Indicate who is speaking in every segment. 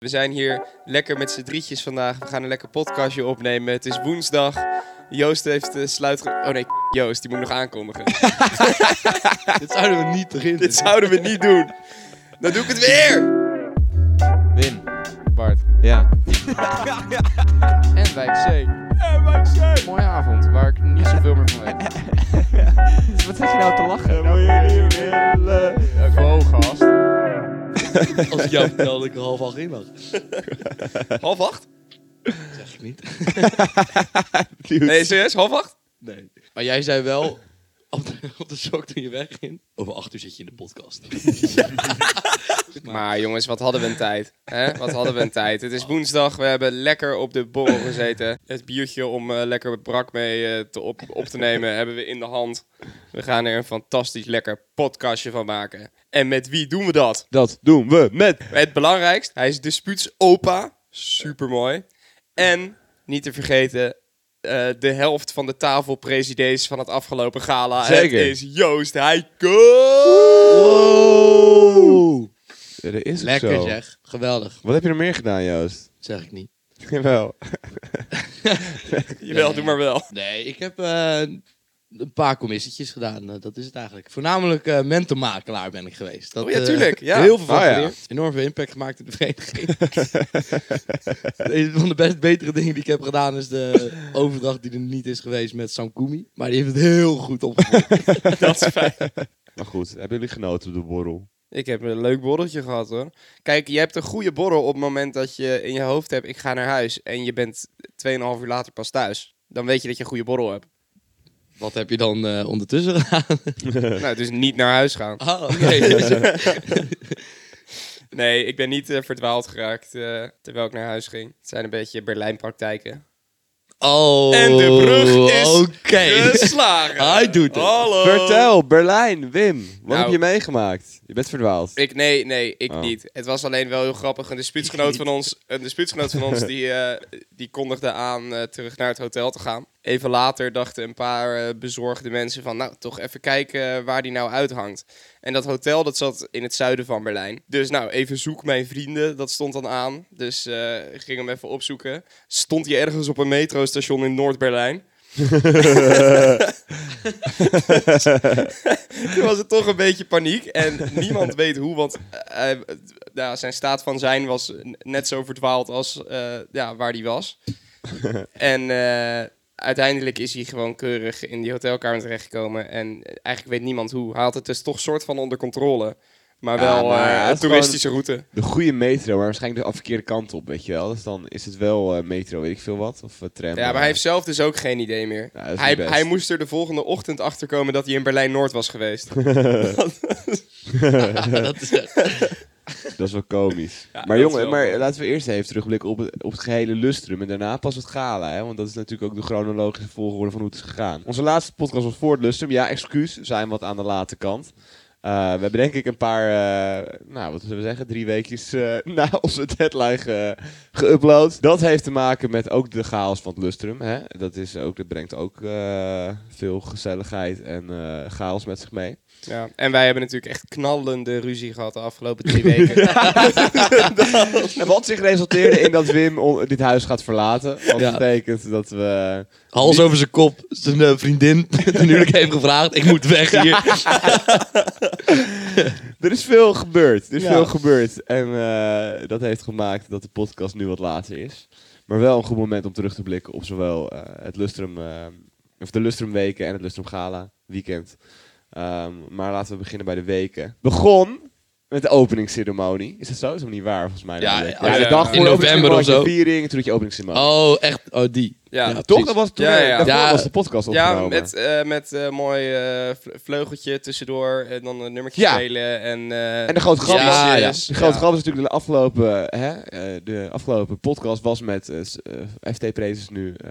Speaker 1: We zijn hier lekker met z'n drietjes vandaag. We gaan een lekker podcastje opnemen. Het is woensdag. Joost heeft de sluit... Oh nee, Joost, die moet ik nog aankondigen.
Speaker 2: Dit zouden we niet erin.
Speaker 1: Dit zouden we niet doen. Dan doe ik het weer!
Speaker 2: Wim. Bart. Ja. en Wijk C. Mooie avond, waar ik niet zoveel meer van weet.
Speaker 3: Wat zit je nou te lachen?
Speaker 2: Wow, gast.
Speaker 4: Als ik jou vertel dat ik er half acht in lag.
Speaker 1: Half acht?
Speaker 4: Dat zeg ik niet.
Speaker 1: Nee, serieus? Half acht?
Speaker 4: Nee. Maar jij zei wel, op de, op de sok toen je wegging, over acht uur zit je in de podcast.
Speaker 1: Maar jongens, wat hadden we een tijd. Hè? Wat hadden we een tijd. Het is woensdag, we hebben lekker op de borrel gezeten. Het biertje om eh, lekker brak mee eh, te op, op te nemen hebben we in de hand. We gaan er een fantastisch lekker podcastje van maken. En met wie doen we dat?
Speaker 2: Dat doen we met...
Speaker 1: Het belangrijkst, hij is dispuuts opa. Supermooi. En, niet te vergeten, eh, de helft van de tafelpresidents van het afgelopen gala.
Speaker 2: Zeker.
Speaker 1: Het is Joost Heiko.
Speaker 2: Oh. Dat is ook
Speaker 4: Lekker
Speaker 2: zo.
Speaker 4: zeg. Geweldig.
Speaker 2: Wat heb je nog meer gedaan, Joost?
Speaker 4: Dat zeg ik niet.
Speaker 2: Jawel.
Speaker 1: Jawel,
Speaker 4: Nee.
Speaker 1: doe maar wel.
Speaker 4: Nee, ik heb eh, een paar commissietjes gedaan. eh, dat is het eigenlijk. Voornamelijk eh mentormakelaar ben ik geweest. Dat,
Speaker 1: Oh ja,
Speaker 4: eh,
Speaker 1: tuurlijk. Ja.
Speaker 4: Heel veel van
Speaker 2: Oh ja.
Speaker 4: geleerd. Enorm veel impact gemaakt in de vereniging. een van de best betere dingen die ik heb gedaan is de overdracht die er niet is geweest met Sam Kumi. Maar die heeft het heel goed opgevoerd.
Speaker 1: Dat is fijn.
Speaker 2: Maar goed, hebben jullie genoten op de borrel?
Speaker 1: Ik heb een leuk borreltje gehad hoor. Kijk, je hebt een goede borrel op het moment dat je in je hoofd hebt: ik ga naar huis. en je bent 2,5 uur later pas thuis. Dan weet je dat je een goede borrel hebt.
Speaker 4: Wat heb je dan eh, ondertussen gedaan?
Speaker 1: nou, dus niet naar huis gaan.
Speaker 4: Ah, oké.
Speaker 1: Nee, ik ben niet eh, verdwaald geraakt eh, terwijl ik naar huis ging. Het zijn een beetje Berlijn-praktijken.
Speaker 4: oh,
Speaker 1: En de brug is
Speaker 4: Oké. dus-
Speaker 1: Geslagen!
Speaker 4: Hij doet het.
Speaker 1: Hallo!
Speaker 2: Vertel, Berlijn, Wim. Wat
Speaker 1: Nou.
Speaker 2: heb je meegemaakt? Je bent verdwaald.
Speaker 1: Ik, nee, nee, ik
Speaker 2: Oh.
Speaker 1: niet. Het was alleen wel heel grappig. Een dispuutsgenoot van ons, een dispuutsgenoot van ons die, eh, die kondigde aan eh, terug naar het hotel te gaan. Even later dachten een paar eh, bezorgde mensen van, nou, toch even kijken waar die nou uithangt. En dat hotel, dat zat in het zuiden van Berlijn. Dus nou, even zoek mijn vrienden, dat stond dan aan. Dus eh, ik ging hem even opzoeken. Stond hij ergens op een metrostation in Noord-Berlijn. Toen was het toch een beetje paniek. En niemand weet hoe, want eh, hij- nou, zijn staat van zijn was n- net zo verdwaald als eh, ja, waar hij was. en eh, uiteindelijk is hij gewoon keurig in die hotelkamer terechtgekomen. En eigenlijk weet niemand hoe. Hij had het dus toch soort van onder controle. Maar
Speaker 2: Ja,
Speaker 1: wel
Speaker 2: maar
Speaker 1: eh,
Speaker 2: hij
Speaker 1: een
Speaker 2: had
Speaker 1: toeristische route.
Speaker 2: De goede metro, maar waarschijnlijk de verkeerde kant op, weet je wel. Dus dan is het wel eh, metro, weet ik veel wat. Of eh, tram.
Speaker 1: Ja, maar hij heeft zelf dus ook geen idee meer.
Speaker 2: Ja, dat is niet
Speaker 1: hij,
Speaker 2: best.
Speaker 1: hij moest er de volgende ochtend achter komen dat hij in Berlijn-Noord was geweest.
Speaker 4: dat is echt-
Speaker 2: Dat is wel komisch.
Speaker 1: dat
Speaker 2: maar
Speaker 1: is
Speaker 2: jongen,
Speaker 1: wel
Speaker 2: maar
Speaker 1: mooi.
Speaker 2: laten we eerst even terugblikken op het, op het gehele lustrum. En daarna pas het gala, hè? want dat is natuurlijk ook de chronologische volgorde van hoe het is gegaan. Onze laatste podcast was voor het lustrum. Ja, excuus, we zijn wat aan de late kant. Eh, we hebben denk ik een paar, eh, nou wat zullen we zeggen, drie weekjes eh, na onze deadline ge- geüpload. Dat heeft te maken met ook de chaos van het lustrum. Hè? Dat, is ook, dat brengt ook eh, veel gezelligheid en eh, chaos met zich mee.
Speaker 1: Ja, en wij hebben natuurlijk echt knallende ruzie gehad de afgelopen drie weken.
Speaker 2: En wat zich resulteerde in dat Wim on- dit huis gaat verlaten. Wat
Speaker 4: Ja.
Speaker 2: betekent dat we...
Speaker 4: Hals over zijn kop, zijn eh, vriendin, ten huwelijk heeft gevraagd, ik moet weg hier.
Speaker 2: Er is veel gebeurd. Er is
Speaker 4: Ja.
Speaker 2: veel gebeurd. En eh, dat heeft gemaakt dat de podcast nu wat later is. Maar wel een goed moment om terug te blikken op zowel eh, het Lustrum... eh, of de Lustrum Weken en het Lustrum Gala Weekend. Ehm, maar laten we beginnen bij de weken. Begon met de openingsceremonie. Is dat zo? Is dat niet waar, volgens mij?
Speaker 4: Ja,
Speaker 2: namelijk.
Speaker 4: ja,
Speaker 2: de
Speaker 1: ja.
Speaker 2: dag
Speaker 1: In
Speaker 2: voor de
Speaker 4: november of
Speaker 2: openingsceremonie had
Speaker 4: zo.
Speaker 2: je viering, toen had je openingsceremonie.
Speaker 4: Oh, echt, oh die.
Speaker 1: Ja,
Speaker 2: Toch?
Speaker 4: precies.
Speaker 2: Dat was toen
Speaker 1: Ja, ja.
Speaker 2: daarvoor
Speaker 4: Ja.
Speaker 2: was de podcast
Speaker 1: ja,
Speaker 2: opgenomen.
Speaker 1: met, eh, met eh, mooi eh, vle- vleugeltje tussendoor en dan een nummertje
Speaker 2: Ja.
Speaker 1: spelen. En, eh,
Speaker 2: En de grote grap,
Speaker 4: Ja,
Speaker 2: was,
Speaker 4: ja.
Speaker 2: De grote grap is natuurlijk de afgelopen, hè, eh, de afgelopen podcast was met eh, s- eh FT Prezes nu eh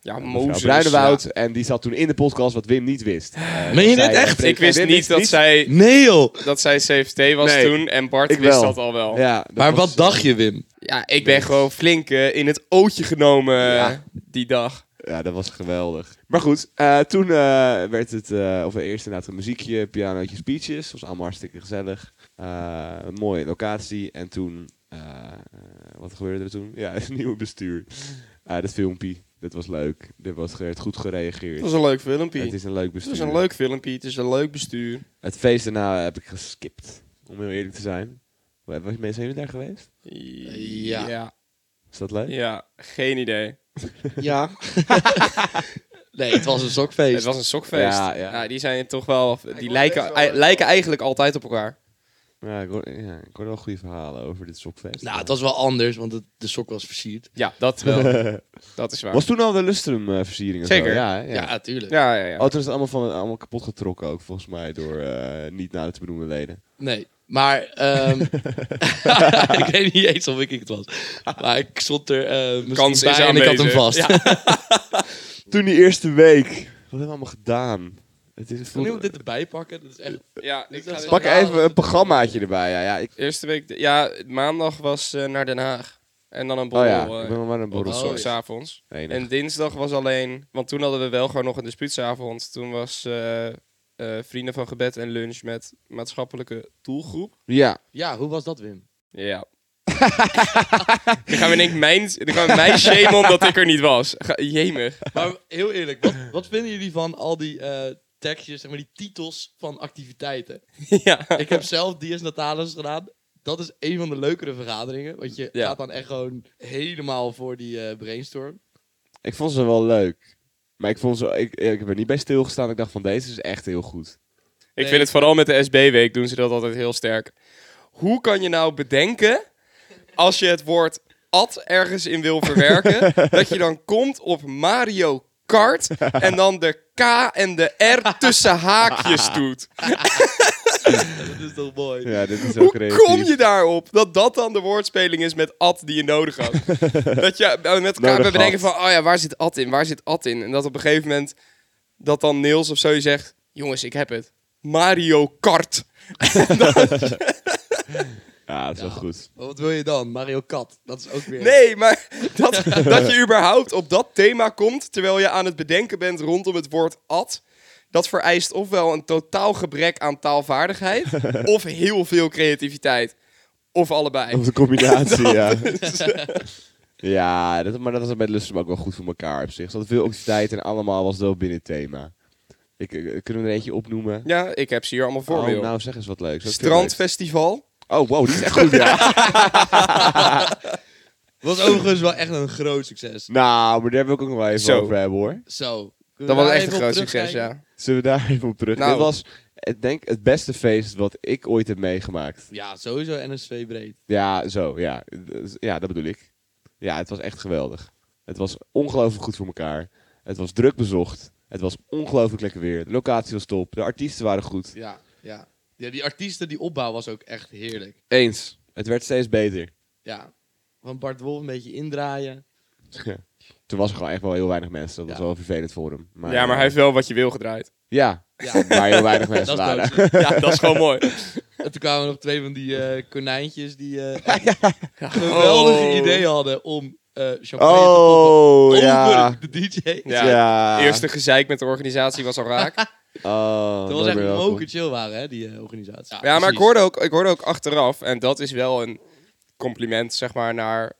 Speaker 1: ja,
Speaker 2: mevrouw
Speaker 1: Mozes.
Speaker 2: Bruinewoud. En die zat toen in de podcast wat Wim niet wist.
Speaker 4: Meen je
Speaker 2: dit
Speaker 4: dit echt?
Speaker 1: Ja. Ik wist
Speaker 2: Wim
Speaker 1: niet dat zij,
Speaker 4: Nee joh.
Speaker 1: dat zij CFT was
Speaker 2: Nee.
Speaker 1: toen en Bart
Speaker 2: Ik
Speaker 1: wist
Speaker 2: wel.
Speaker 1: dat al wel. Ja,
Speaker 2: Ja, dat
Speaker 4: Maar
Speaker 2: was-
Speaker 4: wat dacht je Wim?
Speaker 1: ik ben gewoon flink eh, in het ootje genomen eh,
Speaker 2: Ja.
Speaker 1: die dag.
Speaker 2: Ja, dat was geweldig. Maar goed, eh, toen eh, werd het, eh, of eerst inderdaad een muziekje, pianootje, speeches. Dat was allemaal hartstikke gezellig. Eh, een mooie locatie. En toen eh, wat gebeurde er toen? Ja, het nieuwe bestuur. Ah, dat filmpje, dat was leuk. Er was ge- werd goed gereageerd.
Speaker 1: Het was een leuk filmpje.
Speaker 2: Het
Speaker 1: Het is,
Speaker 2: is een leuk bestuur.
Speaker 1: een leuk filmpje, het is een leuk bestuur.
Speaker 2: Het feest daarna heb ik geskipt, om heel eerlijk te zijn. Wa- Was mensen jullie daar geweest?
Speaker 4: Ja.
Speaker 1: ja.
Speaker 2: Is dat leuk?
Speaker 1: Ja, geen idee.
Speaker 4: Ja. nee, het was een sokfeest.
Speaker 1: Het was een sokfeest.
Speaker 2: Ja,
Speaker 1: Ja,
Speaker 2: ja.
Speaker 1: die zijn toch wel... Die
Speaker 3: hoor
Speaker 1: lijken,
Speaker 3: best wel,
Speaker 1: ei-
Speaker 3: eh,
Speaker 1: lijken eigenlijk altijd op elkaar.
Speaker 2: Ja, ik hoor, ja, ik hoor wel goede verhalen over dit sokfeest.
Speaker 4: Nou, het was wel anders, want het- de sok was versierd.
Speaker 1: Ja, dat wel. dat is waar.
Speaker 2: was toen al de Lustrum eh, versiering en zo?
Speaker 1: Zeker.
Speaker 2: Ja, hè? ja.
Speaker 4: Ja, natuurlijk.
Speaker 1: Ja, ja, ja.
Speaker 2: Oh, toen is het allemaal, van, allemaal kapot getrokken ook, volgens mij, door eh, niet naar te benoemen leden.
Speaker 4: Nee, maar ehm, ik weet niet eens of ik het was. Maar ik stond er eh misschien
Speaker 1: Kans
Speaker 4: bij
Speaker 1: is
Speaker 4: en ik had hem
Speaker 1: aanwezig.
Speaker 4: vast.
Speaker 1: Ja.
Speaker 2: Toen die eerste week. Wat hebben we allemaal gedaan? Het is,
Speaker 4: Kan iemand dit erbij pakken? Dat is echt...
Speaker 1: Ja,
Speaker 4: Dus
Speaker 1: ik
Speaker 4: dat
Speaker 1: ga
Speaker 4: is
Speaker 1: dit-
Speaker 2: Pak even een programmaatje erbij. Ja, ja, ik,
Speaker 1: Eerste week, ja, maandag was eh, naar Den Haag. En dan een
Speaker 2: oh
Speaker 1: borrel.
Speaker 2: ja,
Speaker 1: eh
Speaker 2: ik ben nog maar een borrel.
Speaker 4: Oh,
Speaker 1: zo,
Speaker 2: sorry.
Speaker 4: ja.
Speaker 1: s'avonds.
Speaker 2: Nee, nee.
Speaker 1: En dinsdag was alleen, want toen hadden we wel gewoon nog een dispuutsavond. Toen was eh, eh, Vrienden van Gebed en Lunch met maatschappelijke doelgroep.
Speaker 2: Ja,
Speaker 4: Ja, hoe was dat, Wim?
Speaker 1: Ja. dan gaan we in één keer mijn, dan gaan we mij shamen omdat ik er niet was. Ga, jemig.
Speaker 4: Maar heel eerlijk, wat, wat vinden jullie van al die eh tekstjes, zeg maar die titels van activiteiten?
Speaker 1: ja.
Speaker 4: Ik heb zelf Dies Natalis gedaan. Dat is een van de leukere vergaderingen, want je
Speaker 1: Ja.
Speaker 4: gaat dan echt gewoon helemaal voor die eh, brainstorm.
Speaker 2: ik vond ze wel leuk. Maar ik, vond ze, ik, ik heb er niet bij stilgestaan. Ik dacht van, deze is echt heel goed.
Speaker 1: Ik vind het vooral met de SB-week doen ze dat altijd heel sterk. Hoe kan je nou bedenken, als je het woord at ergens in wil verwerken, dat je dan komt op Mario Kart en dan de K en de R tussen haakjes doet?
Speaker 4: Dat is toch mooi.
Speaker 2: Ja, dit is ook
Speaker 1: Hoe
Speaker 2: creatief.
Speaker 1: kom je daarop dat dat dan de woordspeling is met at die je nodig had? dat je eh, met elkaar
Speaker 2: Nodig
Speaker 1: bedenken van,
Speaker 2: had.
Speaker 1: oh ja, waar zit at in? Waar zit at in? En dat op een gegeven moment dat dan Niels of zo je zegt, jongens, ik heb het. Mario Kart.
Speaker 2: Ja, dat is wel
Speaker 4: Ja.
Speaker 2: goed.
Speaker 4: Maar wat wil je dan? Mario Kat. Dat is ook weer...
Speaker 1: Nee, maar dat, dat je überhaupt op dat thema komt terwijl je aan het bedenken bent rondom het woord at. Dat vereist ofwel een totaal gebrek aan taalvaardigheid of heel veel creativiteit. Of allebei.
Speaker 2: Of de combinatie, ja. ja, dat, maar dat was bij de Lustrum ook wel goed voor elkaar op zich. Ze hadden veel activiteit en allemaal was het wel binnen het thema. Ik, eh, kunnen we er eentje opnoemen?
Speaker 1: Ja, ik heb ze hier allemaal voor me,
Speaker 2: Oh,
Speaker 1: joh.
Speaker 2: nou, zeg eens wat leuks. Dat is heel
Speaker 1: Strandfestival.
Speaker 2: leuk. Oh, wow, die is echt goed, ja.
Speaker 4: Was overigens wel echt een groot succes.
Speaker 2: nou, maar daar hebben we ook nog wel even
Speaker 1: Zo.
Speaker 2: over hebben, hoor.
Speaker 4: Zo.
Speaker 1: Dat was echt een groot succes, ja.
Speaker 2: Zullen we daar even op terug?
Speaker 1: Nou.
Speaker 2: Dit was, ik denk, het beste feest wat ik ooit heb meegemaakt.
Speaker 4: Ja, sowieso NSV breed.
Speaker 2: Ja, zo, ja. Dus- Ja, dat bedoel ik. Ja, het was echt geweldig. Het was ongelooflijk goed voor elkaar. Het was druk bezocht. Het was ongelooflijk lekker weer. De locatie was top. De artiesten waren goed.
Speaker 4: Ja, ja. ja, die artiesten, die opbouw was ook echt heerlijk.
Speaker 2: Eens. Het werd steeds beter.
Speaker 4: Ja. Van Bart Wolf een beetje indraaien.
Speaker 2: Toen was er gewoon echt wel heel weinig mensen. Dat was
Speaker 4: Ja.
Speaker 2: wel vervelend voor hem. Maar, eh,
Speaker 1: ja, maar hij heeft wel wat je wil gedraaid.
Speaker 2: Ja,
Speaker 4: Ja,
Speaker 2: maar heel weinig
Speaker 4: dat
Speaker 2: mensen
Speaker 4: is
Speaker 2: waren.
Speaker 4: dood.
Speaker 1: Ja, dat is gewoon mooi.
Speaker 4: En toen kwamen er nog twee van die eh, konijntjes die eh, geweldige
Speaker 1: Oh.
Speaker 4: ideeën hadden om eh champagne te
Speaker 2: Oh,
Speaker 4: poppen
Speaker 2: ja.
Speaker 4: over de DJ.
Speaker 1: Ja. Eerste gezeik met de organisatie was al raak.
Speaker 2: Oh,
Speaker 4: Dat was echt moken chill waren, hè, die eh, organisatie.
Speaker 1: Ja, maar ik
Speaker 4: precies.
Speaker 1: hoorde, ook, ik hoorde ook achteraf, en dat is wel een compliment, zeg maar, naar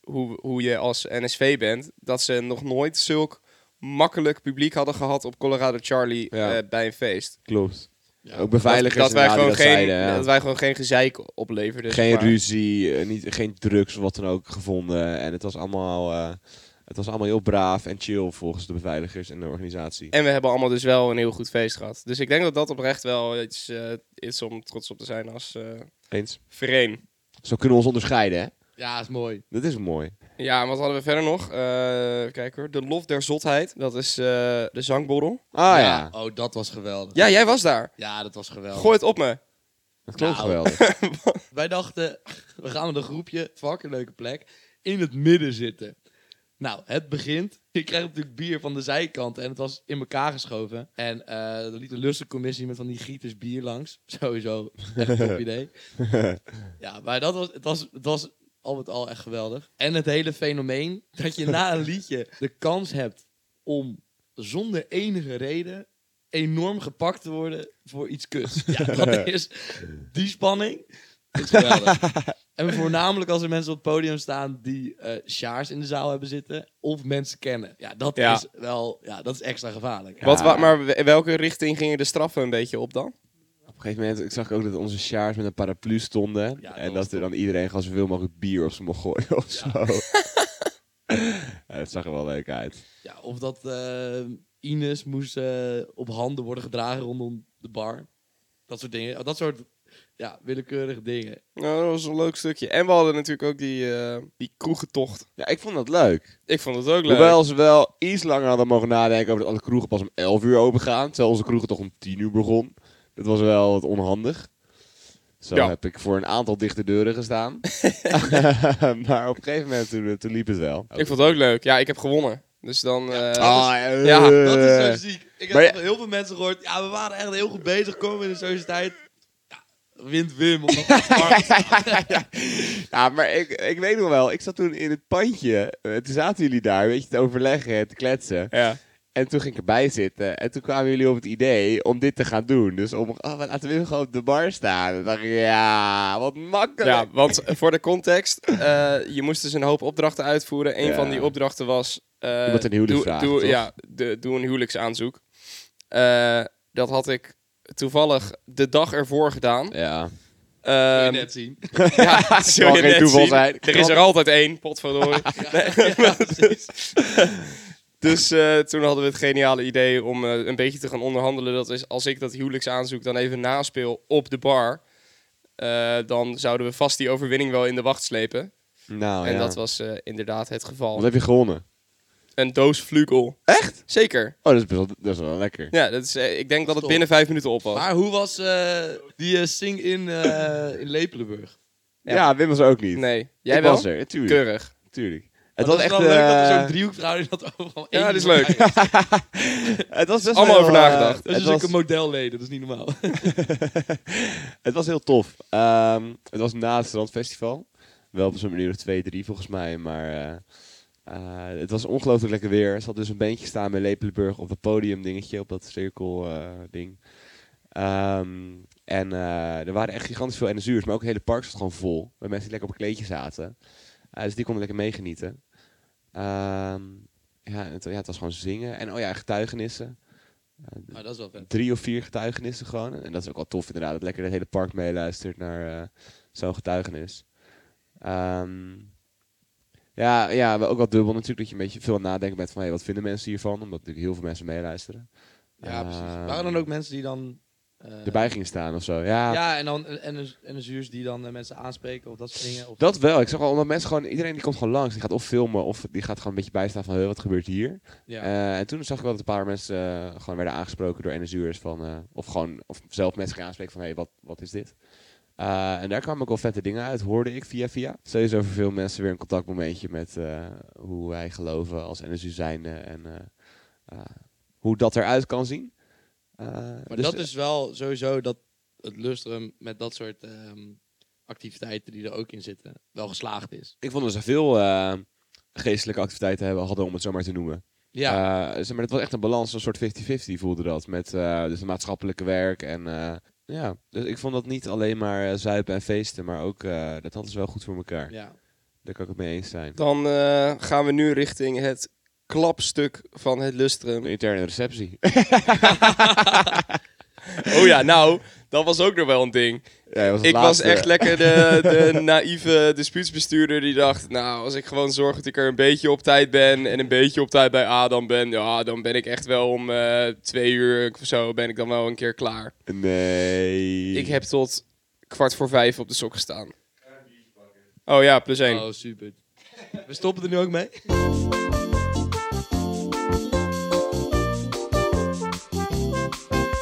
Speaker 1: hoe, hoe je als NSV bent, dat ze nog nooit zulk makkelijk publiek hadden gehad op Colorado Charlie
Speaker 2: Ja.
Speaker 1: eh, bij een feest.
Speaker 2: Klopt.
Speaker 4: Ja.
Speaker 2: Ook beveiligers
Speaker 1: dat, dat wij
Speaker 2: inderdaad
Speaker 1: gewoon
Speaker 2: die
Speaker 1: geen,
Speaker 2: dat zeiden, ja.
Speaker 1: dat wij gewoon geen gezeik opleverden.
Speaker 2: geen
Speaker 1: zeg maar.
Speaker 2: ruzie, eh, niet, geen drugs of wat dan ook gevonden. En het was allemaal, eh, het was allemaal heel braaf en chill volgens de beveiligers en de organisatie.
Speaker 1: En we hebben allemaal dus wel een heel goed feest gehad. Dus ik denk dat dat oprecht wel iets eh, is om trots op te zijn als eh
Speaker 2: Eens.
Speaker 1: Vereen.
Speaker 2: Zo kunnen we ons onderscheiden, hè?
Speaker 4: Ja, is mooi.
Speaker 2: Dat is mooi.
Speaker 1: Ja, en wat hadden we verder nog? Eh kijk hoor, de lof der zotheid. Dat is eh, de zangborrel.
Speaker 2: Ah ja,
Speaker 4: Oh, dat was geweldig. Ja,
Speaker 1: Ja, jij was daar.
Speaker 4: dat was geweldig.
Speaker 1: Gooi het op me.
Speaker 2: dat klopt
Speaker 4: Nou.
Speaker 2: geweldig.
Speaker 4: Wij dachten, we gaan met een groepje, fucking leuke plek, in het midden zitten. Nou, het begint. Je krijgt natuurlijk bier van de zijkant en het was in elkaar geschoven. En eh er liet de lustencommissie met van die gieters bier langs. Sowieso echt een top idee. Ja, maar dat was, het was, het was al met al echt geweldig. En het hele fenomeen dat je na een liedje de kans hebt om zonder enige reden enorm gepakt te worden voor iets kuts. Ja, dat is die spanning. Dat is geweldig. En voornamelijk als er mensen op het podium staan die eh sjaars in de zaal hebben zitten. Of mensen kennen. Ja, dat
Speaker 1: Ja.
Speaker 4: is wel ja, dat is extra gevaarlijk.
Speaker 1: Wat, wa- maar we- welke richting gingen de straffen een beetje op dan?
Speaker 2: Op een gegeven moment, ik zag ook dat onze sjaars met een paraplu stonden.
Speaker 4: Ja, dat
Speaker 2: en
Speaker 4: was
Speaker 2: dat er dan iedereen gewoon zoveel mogelijk bier op ze mocht gooien of zo. ja, dat zag er wel leuk uit.
Speaker 4: Ja, of dat eh, Ines moest eh, op handen worden gedragen rondom de bar. Dat soort dingen. Dat soort ja, willekeurige dingen.
Speaker 1: Nou, dat was een leuk stukje. En we hadden natuurlijk ook die, eh, die kroegentocht.
Speaker 2: Ja, ik vond dat leuk.
Speaker 1: Ik vond het ook leuk.
Speaker 2: Hoewel ze wel iets langer hadden mogen nadenken over dat alle kroegen pas om 11 uur open gaan. Terwijl onze kroegen toch om 10 uur begon. Dat was wel wat onhandig. Zo
Speaker 1: Ja.
Speaker 2: heb ik voor een aantal dichte deuren gestaan. maar op een gegeven moment toen, toen liep het wel.
Speaker 1: Ik vond het ook leuk. Ja, ik heb gewonnen. Dus dan... eh,
Speaker 2: Ah,
Speaker 1: ja, dus-
Speaker 2: eh.
Speaker 4: Dat is zo ziek. Ik heb
Speaker 2: maar ja-
Speaker 4: van heel veel mensen gehoord. Ja, we waren echt heel goed bezig. Komen we in de sociëteit. Ja, wint Wim. Omdat het hard is.
Speaker 2: Ja, maar ik, ik weet nog wel, ik zat toen in het pandje. eh, Toen zaten jullie daar, weet je, te overleggen en te kletsen.
Speaker 1: ja.
Speaker 2: En toen ging ik erbij zitten. En toen kwamen jullie op het idee om dit te gaan doen. Dus om, oh, we laten we gewoon op de bar staan. En dacht ik, ja, wat makkelijk.
Speaker 1: ja, want voor de context, eh, je moest dus een hoop opdrachten uitvoeren. Een
Speaker 2: Ja.
Speaker 1: van die opdrachten was... eh,
Speaker 2: Iemand een huwelijk
Speaker 1: doe,
Speaker 2: vragen,
Speaker 1: doe-
Speaker 2: toch?
Speaker 1: Ja, de- doe een huwelijksaanzoek. Eh, dat had ik toevallig de dag ervoor gedaan.
Speaker 2: Ja,
Speaker 4: Kun je
Speaker 1: Ehm,
Speaker 4: net zien.
Speaker 1: ja, zul
Speaker 2: Kan
Speaker 1: je
Speaker 2: geen
Speaker 1: net
Speaker 2: toeval
Speaker 1: zien.
Speaker 2: zijn.
Speaker 1: Er is er altijd één, potverdorie. Nee. dus eh, toen hadden we het geniale idee om eh, een beetje te gaan onderhandelen. Dat is, als ik dat huwelijksaanzoek dan even naspeel op de bar... eh, dan zouden we vast die overwinning wel in de wacht slepen.
Speaker 2: nou
Speaker 1: en
Speaker 2: ja.
Speaker 1: dat was eh, inderdaad het
Speaker 2: Wat
Speaker 1: geval.
Speaker 2: heb je gewonnen?
Speaker 1: Een doos vlugel.
Speaker 2: Echt?
Speaker 1: Zeker.
Speaker 2: Oh, dat is best wel, dat is wel lekker.
Speaker 1: Ja, dat is, eh, ik denk dat het
Speaker 4: Stop.
Speaker 1: binnen vijf minuten op was.
Speaker 4: Maar hoe was eh, die eh, sing-in eh, in Lepelenburg?
Speaker 2: Ja, Wim was er ook niet.
Speaker 1: Nee.
Speaker 2: Jij
Speaker 1: Jij
Speaker 2: ik
Speaker 1: wel?
Speaker 2: was er, tuurlijk.
Speaker 1: Keurig.
Speaker 2: tuurlijk.
Speaker 4: Het was echt wel leuk dat
Speaker 2: eh,
Speaker 4: er zo'n driehoekverhouding had overal één
Speaker 1: dat is
Speaker 4: iemand
Speaker 1: leuk.
Speaker 4: bij
Speaker 2: Het was best
Speaker 1: Allemaal
Speaker 2: wel,
Speaker 1: over
Speaker 2: eh,
Speaker 1: nagedacht.
Speaker 4: Dat
Speaker 2: het
Speaker 4: is
Speaker 2: was-
Speaker 4: dus een modelleden, dat is niet normaal.
Speaker 2: Het was heel tof. Ehm, het was na het Strandfestival. Wel op zo'n manier of twee, drie volgens mij. Maar eh, eh, het was ongelooflijk lekker weer. Er zat dus een bandje staan bij Lepelenburg op dat podium dingetje. Op dat cirkel eh, ding. Ehm, en eh, er waren echt gigantisch veel NSU'ers. Maar ook het hele park zat gewoon vol. Met mensen die lekker op een kleedje zaten. Eh, dus die konden lekker meegenieten. Ehm, ja, het, ja, het was gewoon zingen. En oh ja, getuigenissen
Speaker 4: Maar dat is wel vet.
Speaker 2: drie of vier getuigenissen gewoon. En dat is ook wel tof inderdaad, dat lekker het hele park meeluistert naar eh, zo'n getuigenis. Ehm, ja, ja, wel ook wel dubbel natuurlijk, dat je een beetje veel aan het nadenken bent van, hey, wat vinden mensen hiervan? Omdat natuurlijk heel veel mensen meeluisteren.
Speaker 4: Ja, precies.
Speaker 2: Ehm,
Speaker 4: Waren er dan ook mensen die dan... eh,
Speaker 2: Erbij gingen staan of zo, ja.
Speaker 4: Ja, en dan en, en, en de zuurs die dan eh, mensen aanspreken of dat soort dingen. Of,
Speaker 2: Dat wel, ik zag wel, omdat mensen gewoon, iedereen die komt gewoon langs, die gaat of filmen of die gaat gewoon een beetje bijstaan van, hey, wat gebeurt hier?
Speaker 4: ja.
Speaker 2: Eh, en toen zag ik wel dat een paar mensen eh, gewoon werden aangesproken door NSU'ers van, eh, of gewoon of zelf mensen gaan aanspreken van, hé, hey, wat, wat is dit? Eh, en daar kwamen ook wel vette dingen uit, hoorde ik via via. Sowieso voor veel mensen weer een contactmomentje met eh, hoe wij geloven als NSU zijn en eh, eh, hoe dat eruit kan zien. Eh,
Speaker 4: maar
Speaker 2: dus-
Speaker 4: dat is wel sowieso dat het lustrum met dat soort ehm, activiteiten die er ook in zitten, wel geslaagd is.
Speaker 2: Ik vond dat ze veel eh, geestelijke activiteiten hebben, hadden, om het zo maar te noemen.
Speaker 4: Ja,
Speaker 2: Eh, zeg maar, het was echt een balans, een soort 50-50 voelde dat. Met eh, dus het maatschappelijke werk en... eh, ja, dus ik vond dat niet alleen maar eh, zuipen en feesten, maar ook... eh, dat hadden ze wel goed voor elkaar.
Speaker 4: ja.
Speaker 2: Daar kan ik het mee eens zijn.
Speaker 1: Dan eh, gaan we nu richting het klapstuk van het lustrum.
Speaker 2: Een interne receptie.
Speaker 1: Oh ja, nou, dat was ook nog wel een ding.
Speaker 2: Ja, dat was het
Speaker 1: Ik was
Speaker 2: laatste.
Speaker 1: echt lekker de, de naïeve dispuutsbestuurder die dacht... Nou, als ik gewoon zorg dat ik er een beetje op tijd ben... en een beetje op tijd bij Adam ben... ja, dan ben ik echt wel om eh, twee uur of zo... ben ik dan wel een keer klaar.
Speaker 2: Nee.
Speaker 1: Ik heb tot kwart voor vijf op de sok gestaan. Oh ja, plus één.
Speaker 4: Oh, super. We stoppen er nu ook mee.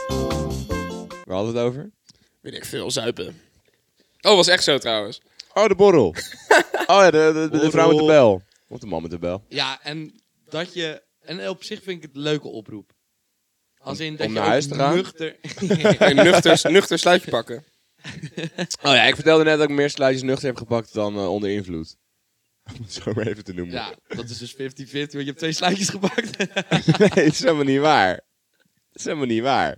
Speaker 2: Waar hadden we het over?
Speaker 1: Weet ik veel, zuipen. Oh, was echt zo trouwens.
Speaker 2: Oh, de borrel. oh ja, de, de, de, de vrouw met de
Speaker 4: Borrel.
Speaker 2: bel. Of de man met de bel.
Speaker 4: Ja, en dat je... En op zich vind ik het een leuke oproep. Als in dat
Speaker 2: om
Speaker 4: je
Speaker 2: naar
Speaker 4: ook
Speaker 2: huis te gaan?
Speaker 4: nuchter...
Speaker 1: Een nuchter, nuchter sluitje pakken.
Speaker 2: Oh ja, ik vertelde net dat ik meer sluitjes nuchter heb gepakt dan eh, onder invloed. Om het zo maar even te noemen.
Speaker 4: ja, dat is dus 50-50, want je hebt twee sluitjes gepakt.
Speaker 2: Nee, dat is helemaal niet waar. is helemaal niet waar.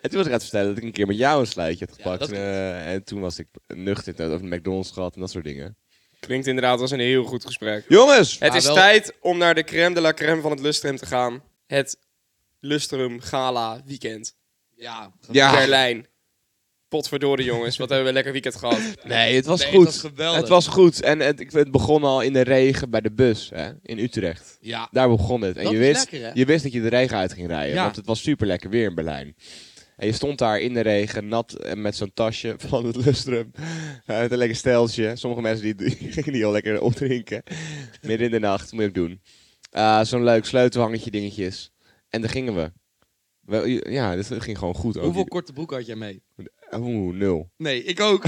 Speaker 2: En toen was ik aan het vertellen dat ik een keer met jou een sluitje had
Speaker 4: Ja,
Speaker 2: gepakt.
Speaker 4: dat klopt.
Speaker 2: eh, en toen was ik nuchter, toen had ik over de McDonald's gehad en dat soort dingen.
Speaker 1: Klinkt inderdaad als een heel goed gesprek.
Speaker 2: Jongens!
Speaker 1: Het
Speaker 4: Maar
Speaker 1: is
Speaker 4: wel-
Speaker 1: tijd om naar de crème de la crème van het Lustrum te gaan. Het Lustrum Gala Weekend.
Speaker 4: Ja.
Speaker 2: Ja.
Speaker 1: Berlijn. Potverdorie jongens, wat hebben we een lekker weekend gehad.
Speaker 2: Nee, het was
Speaker 4: Nee, het
Speaker 2: goed.
Speaker 4: was geweldig.
Speaker 2: Het was goed. En het, ik- het begon al in de regen bij de bus hè, in Utrecht.
Speaker 4: Ja.
Speaker 2: Daar begon het. En
Speaker 4: Dat
Speaker 2: je
Speaker 4: is
Speaker 2: wist,
Speaker 4: lekker, hè?
Speaker 2: je wist dat je de regen uit ging rijden.
Speaker 4: Ja.
Speaker 2: Want het was super lekker weer in Berlijn. En je stond daar in de regen, nat en met zo'n tasje van het lustrum. Eh, Met een lekker steltje. Sommige mensen die, die gingen die al lekker opdrinken. Midden in de nacht, moet je ook doen. Eh, zo'n leuk sleutelhangetje dingetjes. En daar gingen we. we ja, dat ging gewoon goed. ook.
Speaker 4: Hoeveel korte broeken had jij mee?
Speaker 2: Oeh, Oh, nul.
Speaker 4: Nee, ik ook.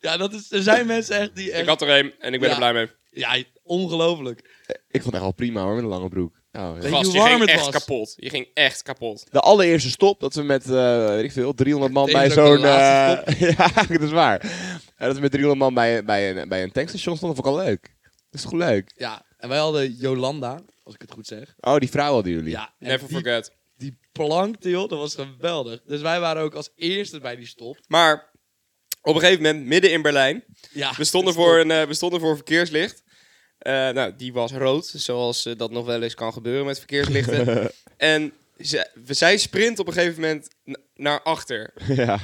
Speaker 4: ja, dat is, er zijn mensen echt die
Speaker 1: Ik
Speaker 4: echt...
Speaker 1: had er één en ik ben
Speaker 4: Ja.
Speaker 1: er blij mee.
Speaker 4: Ja, ongelooflijk.
Speaker 2: Ik vond het echt wel prima hoor, met een lange broek. Oh, ja.
Speaker 4: Weet
Speaker 1: Gast,
Speaker 4: hoe
Speaker 1: je
Speaker 4: warm
Speaker 1: ging
Speaker 4: het
Speaker 1: echt
Speaker 4: was?
Speaker 1: kapot. Je ging echt kapot.
Speaker 2: De allereerste stop dat we met, eh, weet ik veel, 300 man
Speaker 4: Het
Speaker 2: bij
Speaker 4: is ook de
Speaker 2: zo'n...
Speaker 4: laatste
Speaker 2: eh, ja, dat is waar. En dat we met 300 man bij, bij, een, bij een tankstation stonden, vond ik al leuk. Dat is toch leuk?
Speaker 4: Ja, en wij hadden Jolanda, als ik het goed zeg.
Speaker 2: Oh, die vrouw hadden jullie.
Speaker 4: Ja, en
Speaker 1: Never
Speaker 4: die,
Speaker 1: forget.
Speaker 4: die plankte, joh, dat was geweldig. Dus wij waren ook als eerste bij die stop.
Speaker 1: Maar op een gegeven moment, midden in Berlijn,
Speaker 4: Ja,
Speaker 1: we stonden
Speaker 4: stop.
Speaker 1: voor, een, eh, we stonden voor een verkeerslicht. Eh, nou, die was rood, zoals eh, dat nog wel eens kan gebeuren met verkeerslichten. en ze, we- zij sprint op een gegeven moment n- naar achter.
Speaker 2: Ja.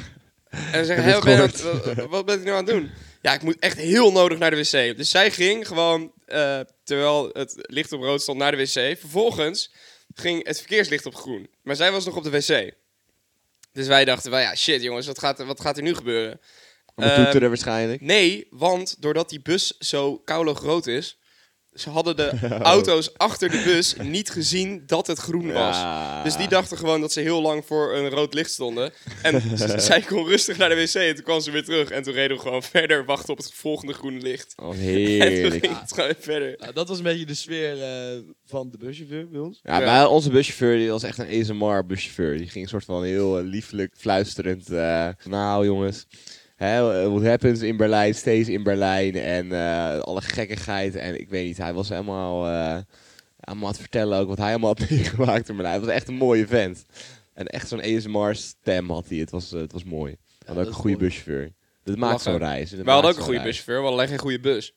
Speaker 1: En ze zeggen,
Speaker 2: heb
Speaker 1: "Hé,
Speaker 2: het
Speaker 1: wat ben je aan het- wat, wat ben je nou aan het doen? Ja, ik moet echt heel nodig naar de wc. Dus zij ging gewoon, eh, terwijl het licht op rood stond, naar de wc. Vervolgens ging het verkeerslicht op groen. Maar zij was nog op de wc. Dus wij dachten, wel, ja, shit jongens, wat gaat, er- wat gaat er nu gebeuren?
Speaker 2: Om te
Speaker 1: Ehm,
Speaker 2: toeteren waarschijnlijk.
Speaker 1: Nee, want doordat die bus zo koulig rood is... Ze hadden de auto's achter de bus niet gezien dat het groen was.
Speaker 2: Ja.
Speaker 1: Dus die dachten gewoon dat ze heel lang voor een rood licht stonden. En z- zij kon rustig naar de wc en toen kwam ze weer terug. En toen reden we gewoon verder, wachten op het volgende groene licht.
Speaker 2: Oh,
Speaker 1: En toen
Speaker 2: heerlijk.
Speaker 1: ging het gewoon verder.
Speaker 4: Nou, dat was een beetje de sfeer eh, van de buschauffeur bij ons.
Speaker 2: Ja, maar onze buschauffeur die was echt een ASMR-buschauffeur. Die ging soort van heel eh, liefelijk, fluisterend. eh, nou jongens, hè, eh, what happens in Berlijn, steeds in Berlijn. En eh, alle gekkigheid. En ik weet niet, hij was helemaal eh aan het vertellen ook wat hij allemaal had meegemaakt in Berlijn. Het was echt een mooie vent. En echt zo'n ASMR-stem had hij. Het was, eh, het was mooi. Hij had
Speaker 4: dat
Speaker 2: ook
Speaker 4: is
Speaker 2: een goede
Speaker 4: mooi.
Speaker 2: buschauffeur. Dat maakt zo'n
Speaker 1: Lachen.
Speaker 2: reis. Dat
Speaker 1: We hadden
Speaker 2: maakt
Speaker 1: ook een
Speaker 2: zo'n
Speaker 1: goede
Speaker 2: reis.
Speaker 1: buschauffeur, we hadden alleen geen goede bus.